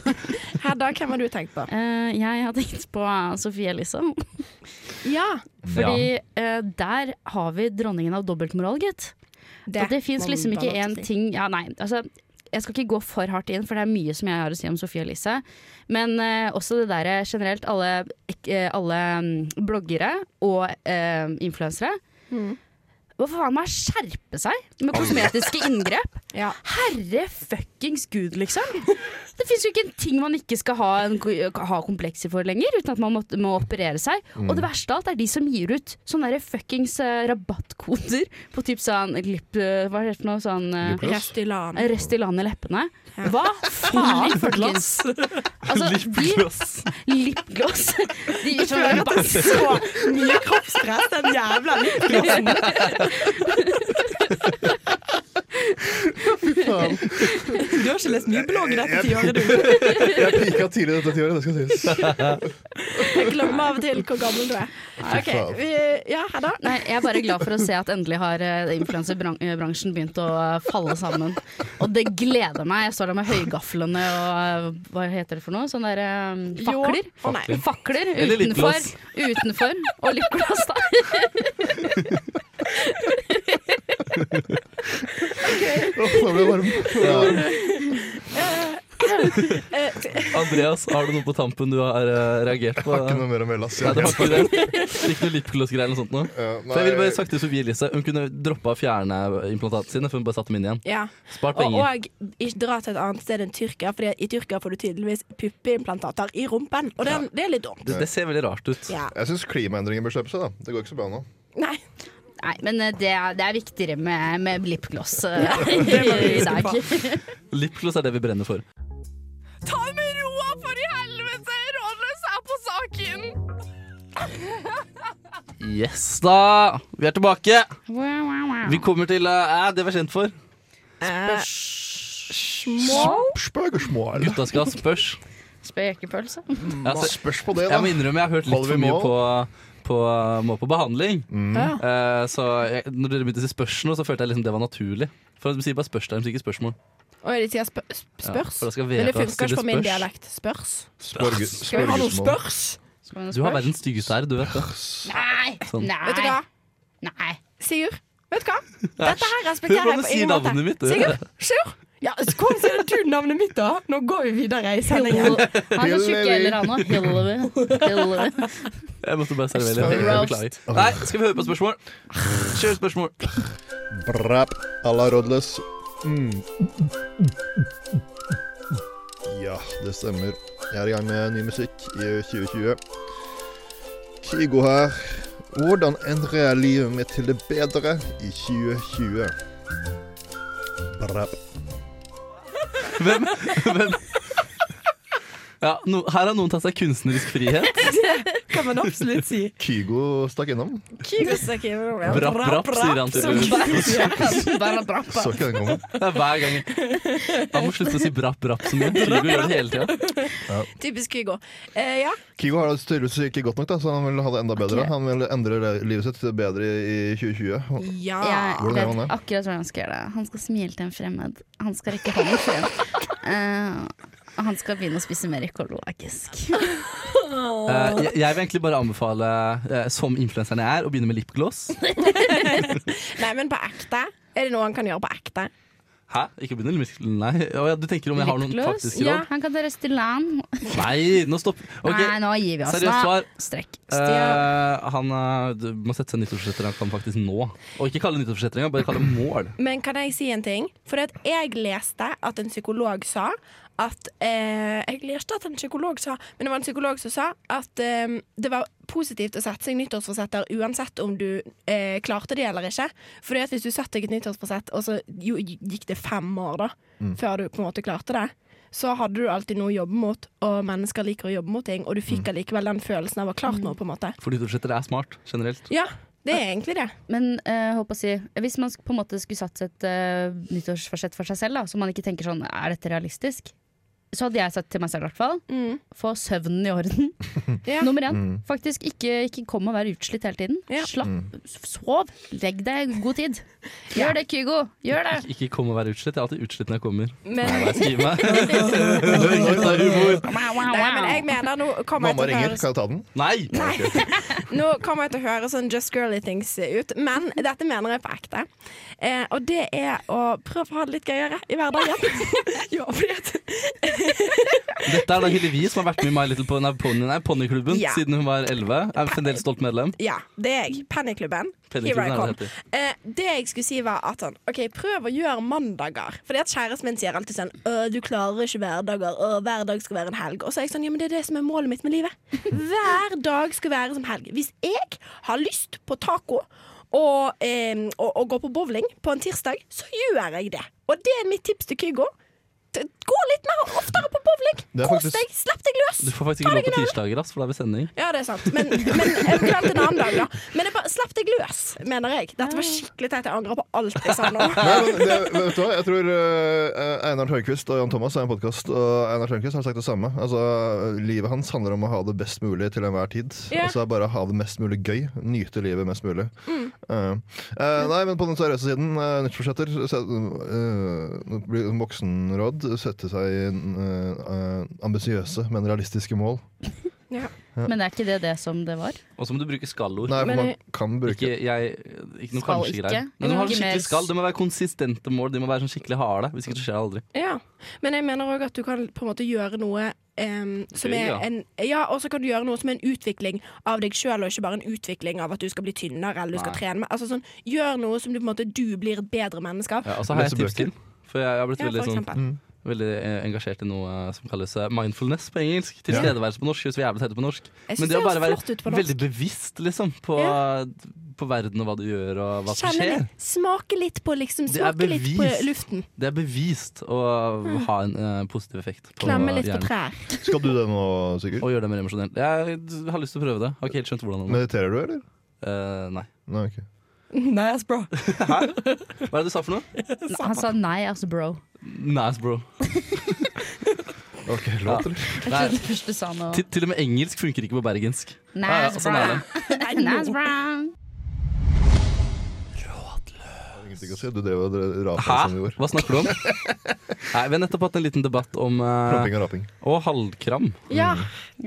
E: Hedda, hvem har du tenkt på?
C: Eh, jeg har tenkt på eh, Sofie Elise.
E: Ja,
C: Fordi eh, der har vi dronningen av dobbeltmoral, gitt. Det, det fins
E: må
C: liksom
E: man
C: ikke
E: bare
C: én
E: si.
C: ting ja, nei, altså, Jeg skal ikke gå for hardt inn, for det er mye som jeg har å si om Sofie Elise. Men eh, også det derre generelt, alle, ek- eh, alle mm, bloggere og eh, influensere. Hva faen meg skjerpe seg med kosmetiske inngrep?
E: Ja.
C: Herre fuckings gud, liksom! Det fins jo ikke en ting man ikke skal ha, en, ha komplekser for lenger, uten at man må, må operere seg. Og
E: Mm.
C: det verste av alt er de som gir ut sånne der fuckings eh, rabattkoder på typ sånn lip... eh, hva er det for noe sånn eh,
E: Rest i land.
C: Rest i land i leppene.
E: Ja.
C: Hva faen, folkens? Altså, de
A: Lipgloss.
C: Lipgloss. De sånn
E: skjønner at det er så mye kroppspress, den jævla lykkelossen. Du har ikke lest mye blogg dette tiåret, du.
D: Jeg pika tidlig dette tiåret, det skal sies.
E: Jeg glemmer av og til hvor gammel du er. Ok, vi, ja, Hedda?
C: Nei, jeg er bare glad for å se at endelig har eh, influenserbransjen begynt å eh, falle sammen. Og det gleder meg. Jeg står der med høygaflene og eh, hva heter det for noe? Sånne der eh, fakler.
E: Jo. Å, nei.
C: Fakler
A: Eller
C: utenfor,
A: lipgloss.
C: utenfor og lipgloss, da.
D: Åh, Nå ble jeg varm. Nå ble jeg varm.
E: Eh,
A: Andreas, har du noe på tampen du har eh, reagert på?
D: Jeg har ikke noe mer å melde, ass.
A: Nei, det var ikke det. Ikke noe lipgloss-greier eller noe sånt noe?
D: Ja,
A: For jeg ville
D: nei.
A: bare sagt til Sofie Elise Hun kunne droppa å fjerne implantatene sine, for hun bare satte dem inn igjen.
E: Ja.
A: Spart
E: Og,
A: penger.
E: og ikke dra til et annet sted enn Tyrkia, Fordi i Tyrkia får du tydeligvis puppeimplantater i rumpen. Og det, det er litt dumt.
A: Det, det ser veldig rart ut.
E: Ja.
D: Jeg syns klimaendringer bør slippe seg, da. Det går ikke så bra nå.
E: Nei.
C: Nei, men eh, det er, det er viktigere med, med lipgloss eh,
E: det
C: i
E: må vi huske
C: dag.
A: Lipgloss er det vi brenner for.
F: Ta det med roa, for i helvete! Rådløs er på saken!
A: Yes da! Vi er tilbake!
C: Wow, wow, wow.
A: Vi kommer til eh, det vi er kjent for.
E: Eh,
D: Spørsmål.
A: Gutta skal ha spørs.
C: Spekepølse.
A: Altså,
D: Mm. Spørs på det,
A: jeg
D: da.
A: må innrømme jeg har hørt litt for
D: Holder vi
A: mye
D: mål? Mm.
A: på, på, må på behandling.
E: Ja.
A: Eh, så jeg, når dere begynte å si spørsmål, så følte jeg liksom det var naturlig. For de sier bare spørs, de sier ikke spørsmål.
E: Og de sier sp spørs.
A: for da skal
E: Men det
A: Vera
E: funker
A: stille
E: ikke på min
A: spørs.
E: dialekt. Spørs.
D: Spørge-
E: Skal vi ha noe
D: spørgesmål.
E: spørs?
C: Skal vi ha noe
A: Du har
C: spørs?
A: verdens styggeste r, du vet det.
C: Nei!
A: Sånn.
E: Vet du
C: Nei!
E: hva?
C: Nei.
E: Sigurd, vet du hva? Dette her
A: Hør
E: respekterer jeg
A: hvordan du
E: på
A: sier
E: ingen måte.
A: navnet mitt. Du.
E: Sigurd? Sigurd? Ja, så Hvordan sier du navnet mitt, da? Nå går vi videre i sendingen.
C: Hillary. Han er så tjukk i hæler, han òg. Hillary. Hillary.
A: Jeg måtte bare servere
D: Sorry.
A: det. Jeg Beklager. Nei, skal vi høre på spørsmål? Kjør spørsmål.
D: Brap à la Rodless Mm. Ja, det stemmer. Jeg er i gang med ny musikk i 2020. Kygo her. Hvordan endrer jeg livet mitt til det bedre i 2020? Brap.
A: Hvem, hvem? Ja, no, her har noen tatt seg kunstnerisk frihet.
G: kan man absolutt si.
D: Kygo stakk innom.
A: Brapp, brapp, sier han til
G: Som
A: Det
G: bare sier.
C: Bare drappa.
D: Så ikke den komme.
A: er hver gang. Han må slutte å si brapp, brapp så mye. Kygo gjør det hele tida.
E: Typisk Kygo. Eh, ja.
D: Kygo har det tydeligvis ikke godt nok, da, så han vil ha det enda bedre. Han vil endre le- livet sitt til bedre i i 2020.
E: ja.
C: Jeg
D: Hvordan
C: vet
D: gjør han det?
C: akkurat hvordan han skal gjøre det. Han skal smile til en fremmed. Han skal rekke hånden frem. Eh, og han skal begynne å spise mer økologisk.
A: Eh, jeg, jeg vil egentlig bare anbefale, eh, som influenseren jeg er, å begynne med lipgloss.
E: Nei, men på ekte. Er det noe han kan gjøre på ekte?
A: Hæ? Ikke begynne med lipgloss? Nei. Å ja, du tenker om jeg har noen
C: Lipgloss?
A: faktiske
C: Ja,
A: råd?
C: han kan ta Røsteland.
A: Nei, nå stopp. Ok,
C: Nei, nå gir vi oss.
A: Seriøst
C: da.
A: svar.
C: Strekk.
A: Eh, han eh, du må sette seg nyttårsforsetter han kan faktisk nå. Og ikke kalle det nyttårsforsetter engang, bare kalle det mål.
E: Men kan jeg si en ting? For at jeg leste at en psykolog sa at eh, Jeg leste at en psykolog sa Men det var en psykolog som sa at eh, det var positivt å sette seg nyttårsforsetter uansett om du eh, klarte det eller ikke. For at hvis du satte deg et nyttårsforsett, og så jo, gikk det fem år da
D: Mm.
E: før du på en måte klarte det, så hadde du alltid noe å jobbe mot, og mennesker liker å jobbe mot ting, og du fikk
D: Mm.
E: allikevel den følelsen av å ha klart noe, på en måte.
A: For nyttårsforsetter er smart, generelt.
E: Ja, det er egentlig det.
C: Men eh, håper å si, hvis man sk- på en måte skulle satt et eh, nyttårsforsett for seg selv, da, så man ikke tenker sånn er dette realistisk, så hadde jeg sagt til meg selv i hvert fall
E: Mm.
C: få søvnen i orden.
E: Ja.
C: Nummer én. Faktisk ikke, ikke kom og vær utslitt hele tiden.
E: Ja.
C: Slapp, s- sov, legg deg god tid. Gjør det, Kygo. Gjør det.
A: Ikke kom og vær utslitt. Jeg er alltid utslitt når jeg kommer.
E: Men,
A: Nei, skriv meg. Gutta, humor.
C: Wow, wow,
E: nei, men jeg
C: wow.
E: mener nå kommer jeg til å
D: Mamma
E: sånn-
D: ringer,
E: høres-
D: kan jeg ta den?
A: Nei!
E: Nå kommer jeg til å høre sånn Just Girly Things ut, men dette mener jeg på ekte. Eh, og det er å prøve å ha det litt gøyere i hverdagen. ja, fordi at
A: Dette er da Hillevi som har vært med i My Little Pony, nei, Pony- nei, Ponyklubben
E: Ja.
A: siden hun var 11. Er fremdeles stolt medlem.
E: Ja, det er jeg. Pennyklubben.
A: Pennyklubben
E: Here I
A: er det
E: come. Eh, det jeg skulle si, var at sånn OK, prøv å gjøre mandager. Fordi at kjæresten min sier alltid sånn Å, du klarer ikke hverdager. Å, hver dag skal være en helg. Og så er jeg sånn Ja, men det er det som er målet mitt med livet. Hver dag skal være som helg. Hvis jeg har lyst på taco og, eh, og, og gå på bowling på en tirsdag, så gjør jeg det. Og det er mitt tips til Kygo. T- Gå litt mer oftere på bowling!
D: Det er
E: Kos
D: faktisk-
E: deg! Slapp deg løs!
A: Du får faktisk ikke lov på tirsdager, ass, for da er vi sending.
E: Ja, det er sant. Men, men eventuelt en annen dag, da. Men jeg bare, slapp deg løs, mener jeg. Dette var skikkelig teit. Jeg angrer på alt jeg sa nå.
D: Nei, men det, vet du hva? Jeg tror eh, Einar Tørnquist og Jan Thomas er en podkast, og Einar Tørnquist har sagt det samme. Altså, Livet hans handler om å ha det best mulig til enhver tid.
E: Ja. Mm.
D: Altså bare ha det mest mulig gøy. Nyte livet mest mulig. Eh, eh, nei, men på den seriøse siden, uh, nyttårsforsetter uh, blir Voksenråd sette seg uh, ambisiøse, men realistiske mål.
C: Men er ikke det det som det var?
A: Og så må du bruke skallord.
D: Nei,
E: Men
D: for man
E: jeg-
D: kan bruke
A: Ikke, jeg, ikke noe
C: Skal ikke.
A: kanskje-greier. Men du må ha
C: Ikke mer
A: skikkelig
C: s-
A: skall. Det må være konsistente mål. De må være sånn skikkelig harde. Hvis ikke så skjer det aldri.
E: Ja. Men jeg mener òg at du kan på en måte gjøre noe em, som
A: Gøy,
E: er
A: ja.
E: en Ja, og så kan du gjøre noe som er en utvikling av deg sjøl, og ikke bare en utvikling av at du skal bli tynnere eller du skal
A: Nei.
E: trene mer. Altså sånn, gjør noe som du på en måte Du blir et bedre menneske av.
A: Ja, og så har jeg
D: Lese
A: et tips
D: bøker.
A: til. For jeg, jeg har blitt
E: Ja, for
A: veldig, sånn,
E: eksempel.
A: veldig eh, engasjert i noe eh, som kalles eh, mindfulness på engelsk. Tilstedeværelse på norsk. Jeg er så jævlig teit på norsk.
E: Jeg
A: Men
E: syns
A: det
E: det
A: å bare
E: høres
A: være
E: flott ut på norsk.
A: veldig bevisst liksom, på, på verden og hva du gjør og hva som
E: Kjenne
A: skjer.
E: litt, smake litt på liksom
A: Det er
E: Smake litt på
A: bevist.
E: luften.
A: Det er bevist å ha en eh, positiv effekt på
E: Klemme Mm. litt på
A: hjernen.
E: trær.
D: Skal du det nå, Sigurd?
A: Og gjøre det mer emosjonelt. Jeg d- har lyst til å prøve det. Har ikke helt skjønt hvordan ennå.
D: Mediterer du, eller?
A: Eh, nei.
D: Nei, ok.
G: Nice, bro.
A: Hva er det du sa for noe?
C: Han sa nei, altså bro.
A: Nice, bro.
D: Ok,
A: Ja.
D: låter.
C: Jeg
A: Nei.
C: trodde først du sa noe.
A: Til, til og med engelsk funker ikke på bergensk. Ja, ja,
C: Nice,
A: sånn er
C: altså, bro.
A: det.
C: Nice, bro.
D: Ingenting å si. Du drev og rapa
A: Hæ?
D: som du sånn gjorde.
A: Hva snakker du om? Nei, Vi har nettopp hatt en liten debatt om eh,
D: Promping og raping.
A: Og halvkram.
E: Ja.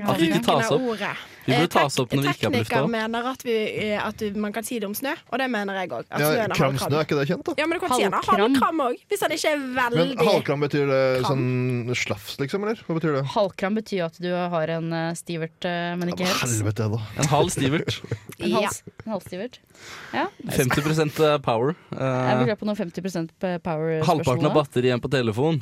A: At det ikke tas opp.
E: ordet.
A: Vi
E: Eh,
A: burde tas
E: tek-
A: opp når vi ikke er på lufta.
E: Tekniker mener at, vi, eh, at du- man kan si det om snø, og det mener jeg òg.
D: Ja, Kramsnø, er ikke det kjent, da?
E: Ja, men du kan si han har
C: Halvkram.
E: halvkram òg, hvis han ikke er
D: Men
E: veldig
D: halvkram betyr det sånn slafs, liksom? eller? Hva betyr det?
C: Halvkram betyr jo at du har en eh, stivert, eh, men ikke
D: Ja, men
C: helt.
D: Helvete, da.
A: En halv stivert.
C: En
E: Ja.
C: hals, en halvstivert. Ja.
A: 50 power. eh,
C: Jeg vil
A: Eh,
C: gå på noen 50 p- power-spørsmål.
A: halvparten av
C: da.
A: batteri igjen på telefon.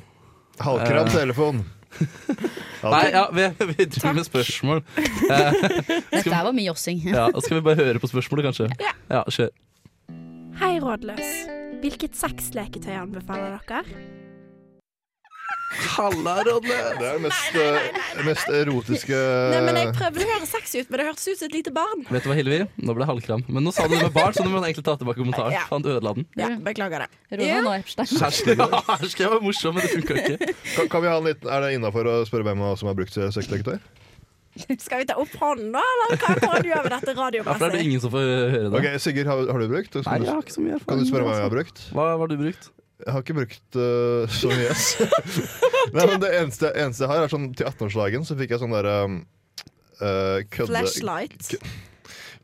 D: Halvkrabb telefon. Ja,
A: Eh. Nei, ja, vi, vi driver med spørsmål.
C: Dette her var mye jossing.
A: Ja, da Skal vi bare høre på spørsmålet, kanskje? Ja, kjør.
H: Hei, rådløs. Hvilket sexleketøy anbefaler dere?
D: Det er det mest, eh, mest erotiske
E: Nei, men jeg prøvde å høre sexy ut, men det hørtes ut som et lite barn.
A: Vet du hva, Hilvi? Nå ble det halvkram. Men nå sa du det med barn, så nå må man egentlig ta tilbake kommentaren.
E: Ja.
A: Faen, du ødela den.
E: Ja, beklager det.
C: Ronald og Epstein.
A: Kjæresten din var morsom, men det funka ikke.
D: kan, kan vi ha en liten, Er det innafor å spørre hvem av oss som har brukt sexleketøy?
E: Skal vi ta opp hånden nå, eller hva får du gjøre med
A: Ja,
E: dette
A: for da er det
E: radiopresset?
A: ingen som får høre det.
D: Ok, Sigurd, har, har du brukt?
A: Nei,
D: Kan
A: jeg
D: du,
A: har ikke så mye erfaring.
D: kan du spørre hva jeg har
A: altså.
D: brukt?
A: Hva hva har du brukt?
D: Jeg har ikke brukt eh, så mye. Nei, men det eneste, eneste jeg har, er sånn til 18-årsdagen så fikk jeg sånn derre um, eh, kødde,
E: Flashlight.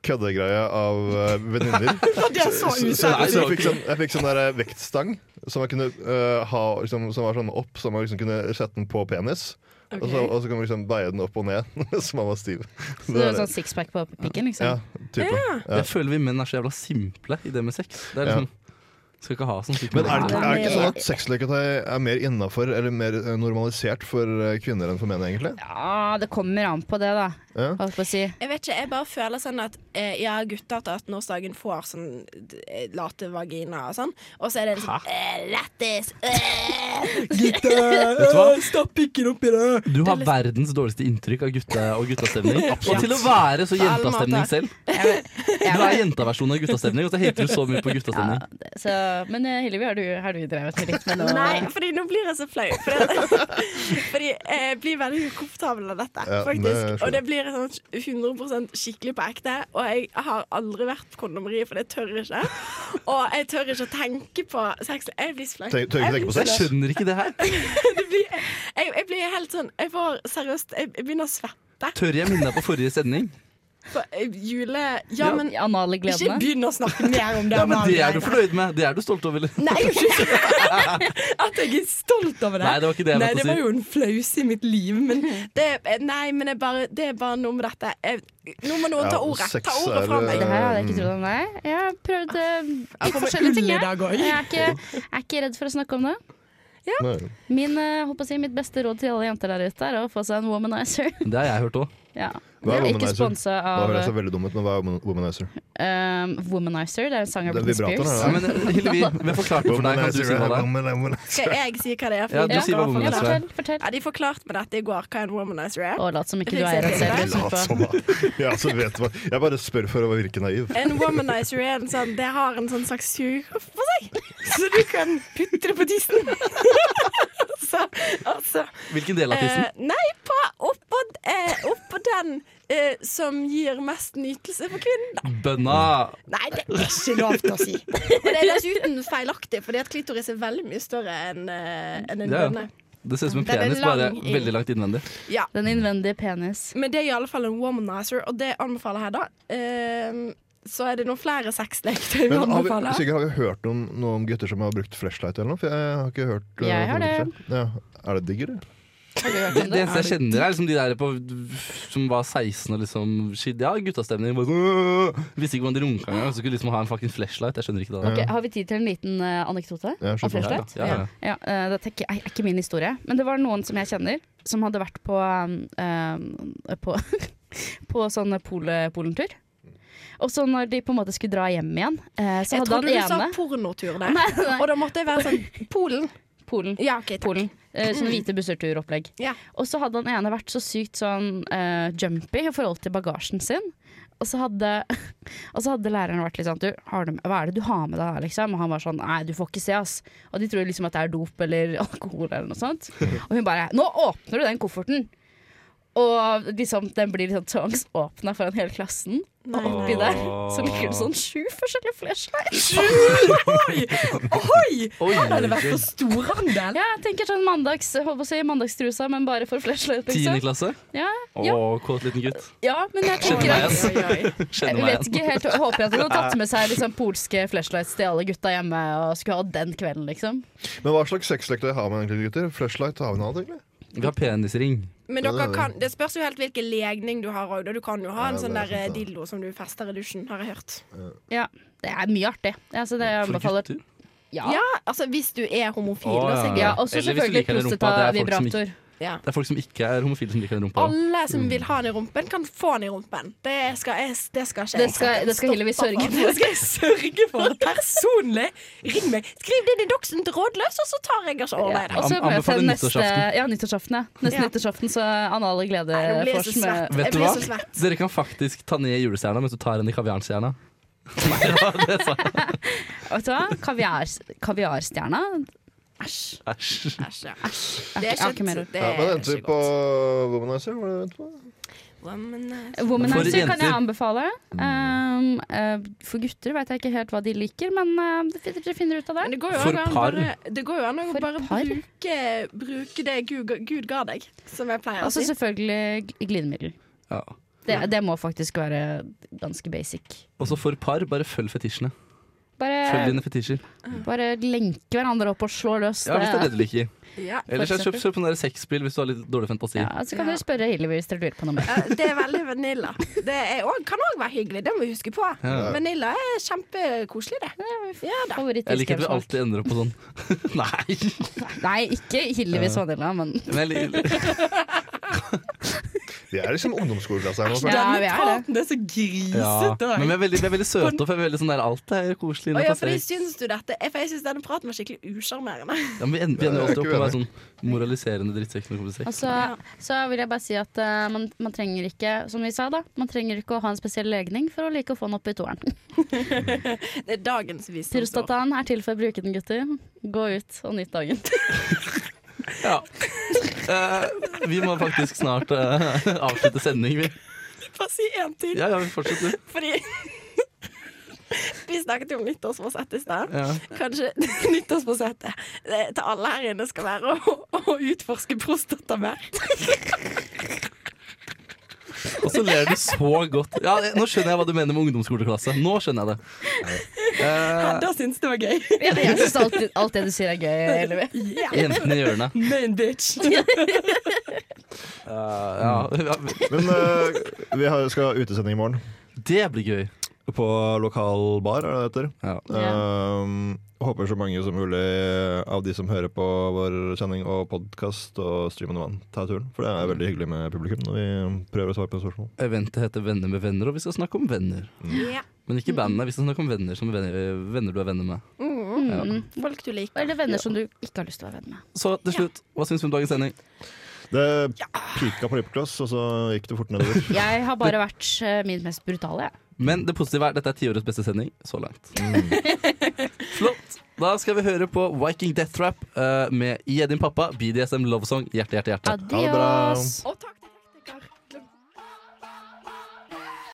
D: køddegreie av eh, venninner.
G: Det er så
D: Så, så, så jeg fikk sånn, jeg fikk sånn der eh, vektstang som, jeg kunne, eh, ha, liksom, som var sånn opp, så man liksom kunne sette den på penis. Og, så, og så kan man liksom veie den opp og ned, så man var stiv.
C: Så du har sånn sixpack på pikken,
D: ja,
C: liksom.
D: type. Ja.
A: Jeg føler vi menn er så jævla simple i det med sex. Det er
D: Ja.
A: liksom, Skal ikke ha sånn type
D: Men er det, ikke-
A: menn.
D: er det ikke sånn at sexleketøy er mer innafor eller mer eh, normalisert for eh, kvinner enn for menn, egentlig?
C: Ja, det kommer an på det, da.
D: Ja.
C: Holdt på å si.
E: Jeg vet ikke, jeg bare føler sånn at eh, ja, gutter til 18-årsdagen får sånn eh, late vagina og sånn, og så er det en sånn eh, Lættis! Eh.
A: Vet du hva?
G: Stapp pikken oppi det!
A: Du har verdens dårligste inntrykk av gutta og guttastemning. Og til å være så
E: alle
A: jentastemning
E: måter.
A: selv.
C: Jeg,
A: Du er jentaversjonen av guttastemning, og så hater du så mye på guttastemning.
C: så, men eh, Hillevi, har du, har du drevet med litt med noe?
E: Nei, fordi nå blir jeg så flau. Fordi, fordi eh, jeg blir veldig ukomfortabel av dette,
D: Ja, det
E: faktisk.
D: skjønner jeg.
E: og det blir sånn 100 skikkelig på ekte. Og jeg har aldri vært på kondomeriet, for det tør jeg ikke. Og jeg tør ikke å tenke på sex. Jeg blir så flau.
D: Tør tør ikke tenke på
A: Jeg
D: sex?
A: skjønner ikke det her.
E: Det blir, jeg, jeg blir helt sånn Jeg får seriøst Jeg, jeg begynner å svette.
A: Tør jeg minne deg på forrige sending?
E: På eh, jule...
A: Ja.
E: Ja, men
C: Anale
E: ikke
C: gledene?
E: begynn å snakke mer om det.
A: Ja, men Det er du
E: Malene.
A: fornøyd med. Det er du stolt over. Nei,
E: Nei, unnskyld.
G: At jeg er stolt over det.
A: det var ikke det jeg
G: Nei,
A: mente
G: det
A: å
G: var
A: si. Mm.
G: jo en flause i mitt liv, men
E: Det, er- nei, men det er, bare, det er bare noe med dette. Jeg, nå må noen
D: Ja,
E: ta ordet.
D: sex
E: Ta ordet
D: er,
E: fra meg.
C: Det her hadde jeg ikke trodd om deg. Jeg har prøvd eh, litt
G: Um, Ah, kommer
C: forskjellige ting.
G: ull i
C: Jeg.
G: dag også.
C: Jeg, er ikke, jeg er ikke redd for å snakke om det.
D: Nei.
C: Min, eh, håper å si, mitt beste råd til alle jenter der ute er å få seg en womanizer.
A: Det har jeg hørt òg.
C: ja.
D: Hva er
C: Det er ikke
D: womanizer?
C: sponsa
D: Da
C: av
D: høres jeg veldig dum ut, men hva er woman- womanizer?
C: eh, Womanizer. Det er en sang av
D: Det er
C: Britney
D: vibratoren,
C: Spears.
D: er det?
A: Ja, men eh, Hillevi, vi har forklart det for deg. Kan du si hva det er?
E: Skal jeg si hva
A: Ja,
E: det er? For
A: du
E: dere
A: sier hva
E: var
A: womanizer
E: for glad.
A: er.
C: Fortell. fortell.
E: Ja, de forklarte meg dette i går, hva en womanizer er.
C: Og lat som ikke
E: Det
C: du er
E: finnes ikke.
C: en selv.
E: Lat
C: Etterpå.
D: Ja, så vet du hva. Jeg bare spør for å virke naiv.
E: En womanizer er en sånn Det har en sånn slags sugerør på seg, så du kan putte det på tissen. så, altså
A: Hvilken del av tissen?
E: eh, Nei, på oppå eh, oppå den eh, som gir mest nytelse for kvinnen.
A: Bønna.
E: Nei, det,
G: ikke lov til å si.
E: og det er dessuten feilaktig, fordi at klitoris er veldig mye større enn eh, enn en
A: Ja, ja.
E: bønne.
A: Det ser ut som en
E: Den er
A: penis, bare
E: lang i-
A: veldig langt innvendig.
E: Ja.
C: Den innvendige penis.
E: Men det er i alle fall en womanizer, og det anbefaler jeg, da. Eh, så er det noen flere sexleketøy vi
D: Men har vi, altså,
E: anbefaler.
D: Sigurd, har vi hørt om noen gutter som har brukt flashlight eller noe? For jeg har ikke hørt eh,
C: Jeg har
D: noe om Ja. Er det digg, eller?
A: Det, det eneste jeg kjenner, er liksom de der på, som var 16 og liksom skid- Ja, guttastemning. Bare, sånn, «Åh!» visste ikke hvordan de runka engang. og Så skulle de liksom ha en fucking flashlight. Jeg skjønner ikke det.
C: Ok, har vi tid til en liten eh, anekdote?
D: Ja, slutt
C: Av
D: på det.
C: flashlight?
A: Ja, ja, ja.
C: Ja, eh, dette er ikke, er ikke min historie, men det var noen som jeg kjenner, som hadde vært på, eh, eh, på, på sånn pole, polentur. Og så når de på en måte skulle dra hjem igjen, eh, så
E: Jeg
C: hadde
E: trodde du
C: han
E: sa
C: ene
E: pornotur der.
C: Nei, nei,
E: Og da måtte jeg være sånn Polen.
C: Polen.
E: Ja, OK. takk.
C: Polen. Eh, sånn hvite busserturopplegg.
E: Ja.
C: Og så hadde han ene vært så sykt sånn eh, jumpy i forhold til bagasjen sin. Og så hadde, og så hadde læreren vært litt sånn du, har du, Hva er det du har med deg, her, liksom? Og han var sånn Nei, du får ikke se, ass. Og de tror liksom at det er dop eller alkohol eller noe sånt. Og hun bare Nå åpner du den kofferten! Og liksom, den blir liksom tvangsåpna foran hele klassen.
E: Nei,
C: Og oppi der så ligger det sånn sju forskjellige flashlights.
G: Ohoi!
A: Oi,
G: Her har det vært for
A: unnskyld.
G: storhandel.
C: Ja, jeg tenker sånn mandags, holdt på å si, mandagstrusa, men bare for flashlight.
A: Tiende
C: Liksom.
A: klasse?
C: Ja,
A: Å,
C: ja.
A: kåt liten gutt.
C: Ja, men jeg tenker
A: meg,
C: at
A: ass.
C: jeg
A: Kjenner meg
C: vet
A: igjen.
C: ikke helt, jeg håper at hun har tatt med seg liksom, polske flashlights til alle gutta hjemme og skulle ha den kvelden, liksom.
D: Men hva slags sexleketøy har man egentlig, gutter? Flashlight har vi noe annet, egentlig?
A: Vi har penisring.
E: Men dere kan, det spørs jo helt hvilken legning du har òg. Du kan jo ha en
D: Ja,
E: sånn
D: det er
E: der eh,
D: sant, da.
E: dildo som du fester i dusjen, har jeg hørt.
C: Ja, det er mye artig. Ja, så det jeg
A: For
C: anbefaler
A: gutter.
C: Ja.
E: Ja, altså hvis du er homofil,
A: Å,
E: da,
A: ja.
E: Sigurd.
C: ja også
A: Eller hvis du
C: selvfølgelig
A: liker den rumpa, det er folk som ikke-
C: prostata-vibrator.
E: Ja.
A: Det er folk som ikke er homofile, som liker den rumpa.
E: Alle som
D: Mm.
E: vil ha den i rumpen, kan få den i rumpen. Det skal, jeg, det skal ikke
C: Det skal- det skal Hillevi
E: Stopper
C: sørge
E: for.
C: for.
E: Det skal jeg sørge for personlig. Ring meg. Skriv din i doksen til rådløs, og så tar jeg altså over
C: Og
E: det.
C: så
A: An-
C: må jeg se
A: anbefaler
C: neste
A: nyttårsaften.
C: ja, nyttårsaften. Ja. Neste
E: Ja.
C: nyttårsaften så anale glede
E: Nei, nå blir jeg
C: fors
E: så
C: med
E: svett.
A: Vet
E: Jeg
A: du
E: blir
A: hva?
E: så svett.
A: Dere kan faktisk ta ned julestjerna mens du tar henne i kaviarstjerna. Nei, det sa jeg.
C: Vet du hva? Kaviar, kaviarstjerna. Æsj.
A: Æsj.
E: Æsj, ja.
C: Jeg har ikke mer ord.
E: det
D: Ja, hva venter vi
E: ikke
D: på
E: godt.
D: Womanizer? Hva er det vi venter på?
E: Womanizer.
A: For
C: Womanizer kan jeg
A: jenter. Mm.
C: anbefale. Um, eh, for gutter vet jeg ikke helt hva de liker, men eh, det fin- dere finner ut av
E: Men
C: det.
E: det går jo
A: For
E: an å
A: par.
E: bare, det går jo an å
C: For
E: bare
C: par.
E: bruke, bruke det Gud, Gud ga deg, som jeg pleier å
C: Og så
E: si.
C: Altså, selvfølgelig gl- glidemiddel.
A: Ja.
C: Det, det må faktisk være ganske basic.
A: Også for par, bare følg fetisjene. Følg
C: Bare,
A: dine fetisjer.
C: bare lenke hverandre opp og slå løs.
A: Ja, Hvis det er det du liker.
E: Ja.
A: Ellers
C: For
A: kjøp, kjøp sånn der sexspill hvis du har litt dårlig fantasi.
C: Ja, så kan dere spørre Hillevi hvis dere lurer på noe mer.
E: Ja, Det er veldig vanilla. Det er, også- kan òg være hyggelig, det må vi huske på.
A: Ja.
E: Vanilla er kjempekoselig, det. Ja
A: Jeg liker at
E: da.
A: vi
C: Favoritt-iskremsmak.
A: alltid ender opp på sånn. Nei!
C: Nei, ikke Hillevis vanilla, men
A: Men jeg liker-
D: Vi er liksom ungdomsskoleklasse her nå.
C: Ja,
D: føler jeg.
G: Denne
C: vi er det.
G: praten er så grisete.
A: ja. Men vi
G: da.
A: er veldig, vi er veldig søte og vi er veldig sånn der alt er koselig.
E: Å
A: nå
E: ja,
A: passer
E: fordi
A: jeg.
E: syns du dette? eh, For jeg syns denne praten var skikkelig usjarmerende.
A: Ja, men vi ender, vi ender
D: Jeg er
A: alltid opp
D: ikke
A: på å være sånn moraliserende drittsekk når det kommer til sex.
C: Altså, så vil jeg bare si at eh, man, man trenger ikke, som vi sa da, man trenger ikke å ha en spesiell legning for å like å få den opp i toeren.
E: Det er dagens visdomsord.
C: Tyrostatan er til for å bruke den, gutter. Gå ut og nyt dagen.
A: Ja. Eh, vi må faktisk snart eh, avslutte sending, vi.
E: Bare si én ting,
A: Ja, ja, vi fortsetter.
E: fordi Vi snakket jo om nyttårsforsett i stad.
A: Ja.
E: Kanskje nyttårsforsettet eh, til alle her inne skal være å, å utforske prostata mer.
A: Og så ler du så godt. Ja, nå skjønner jeg hva du mener med ungdomsskoleklasse. Nå skjønner jeg det. Eh,
G: Da syns det var gøy.
C: Jeg syns alt, alt det du sier er gøy, Elvi.
A: jentene i hjørnet.
G: Main bitch.
A: Eh, ja.
D: Men eh, vi har, skal ha utesending i morgen.
A: Det blir gøy.
D: På lokal bar, er det det heter.
A: Ja.
D: Ehm, håper så mange som mulig av de som hører på vår sending og podkast og Stream on Demand, tar turen. For det er veldig hyggelig med publikum når vi prøver å svare på spørsmål.
A: Eventet heter Venner med venner, og vi skal snakke om venner.
E: Ja.
A: Men ikke bandene. Vi skal snakke om venner som venner, venner du er venner med.
C: Mm.
E: Folk du liker.
C: Eller venner som du ikke har lyst til å være venn med.
A: Så til slutt, hva syns vi om dagens sending?
D: Det pika på lipgloss, og så gikk det fort nedover.
C: Jeg har bare vært eh, min mest brutale, jeg.
A: Men det positive er at dette er tiårets beste sending så langt. Flott. Da skal vi høre på Viking Death Rap eh, med Gi din pappa, BDSM Love Song, hjerte, hjerte, hjerte.
D: bra.
C: Adios.
E: Og takk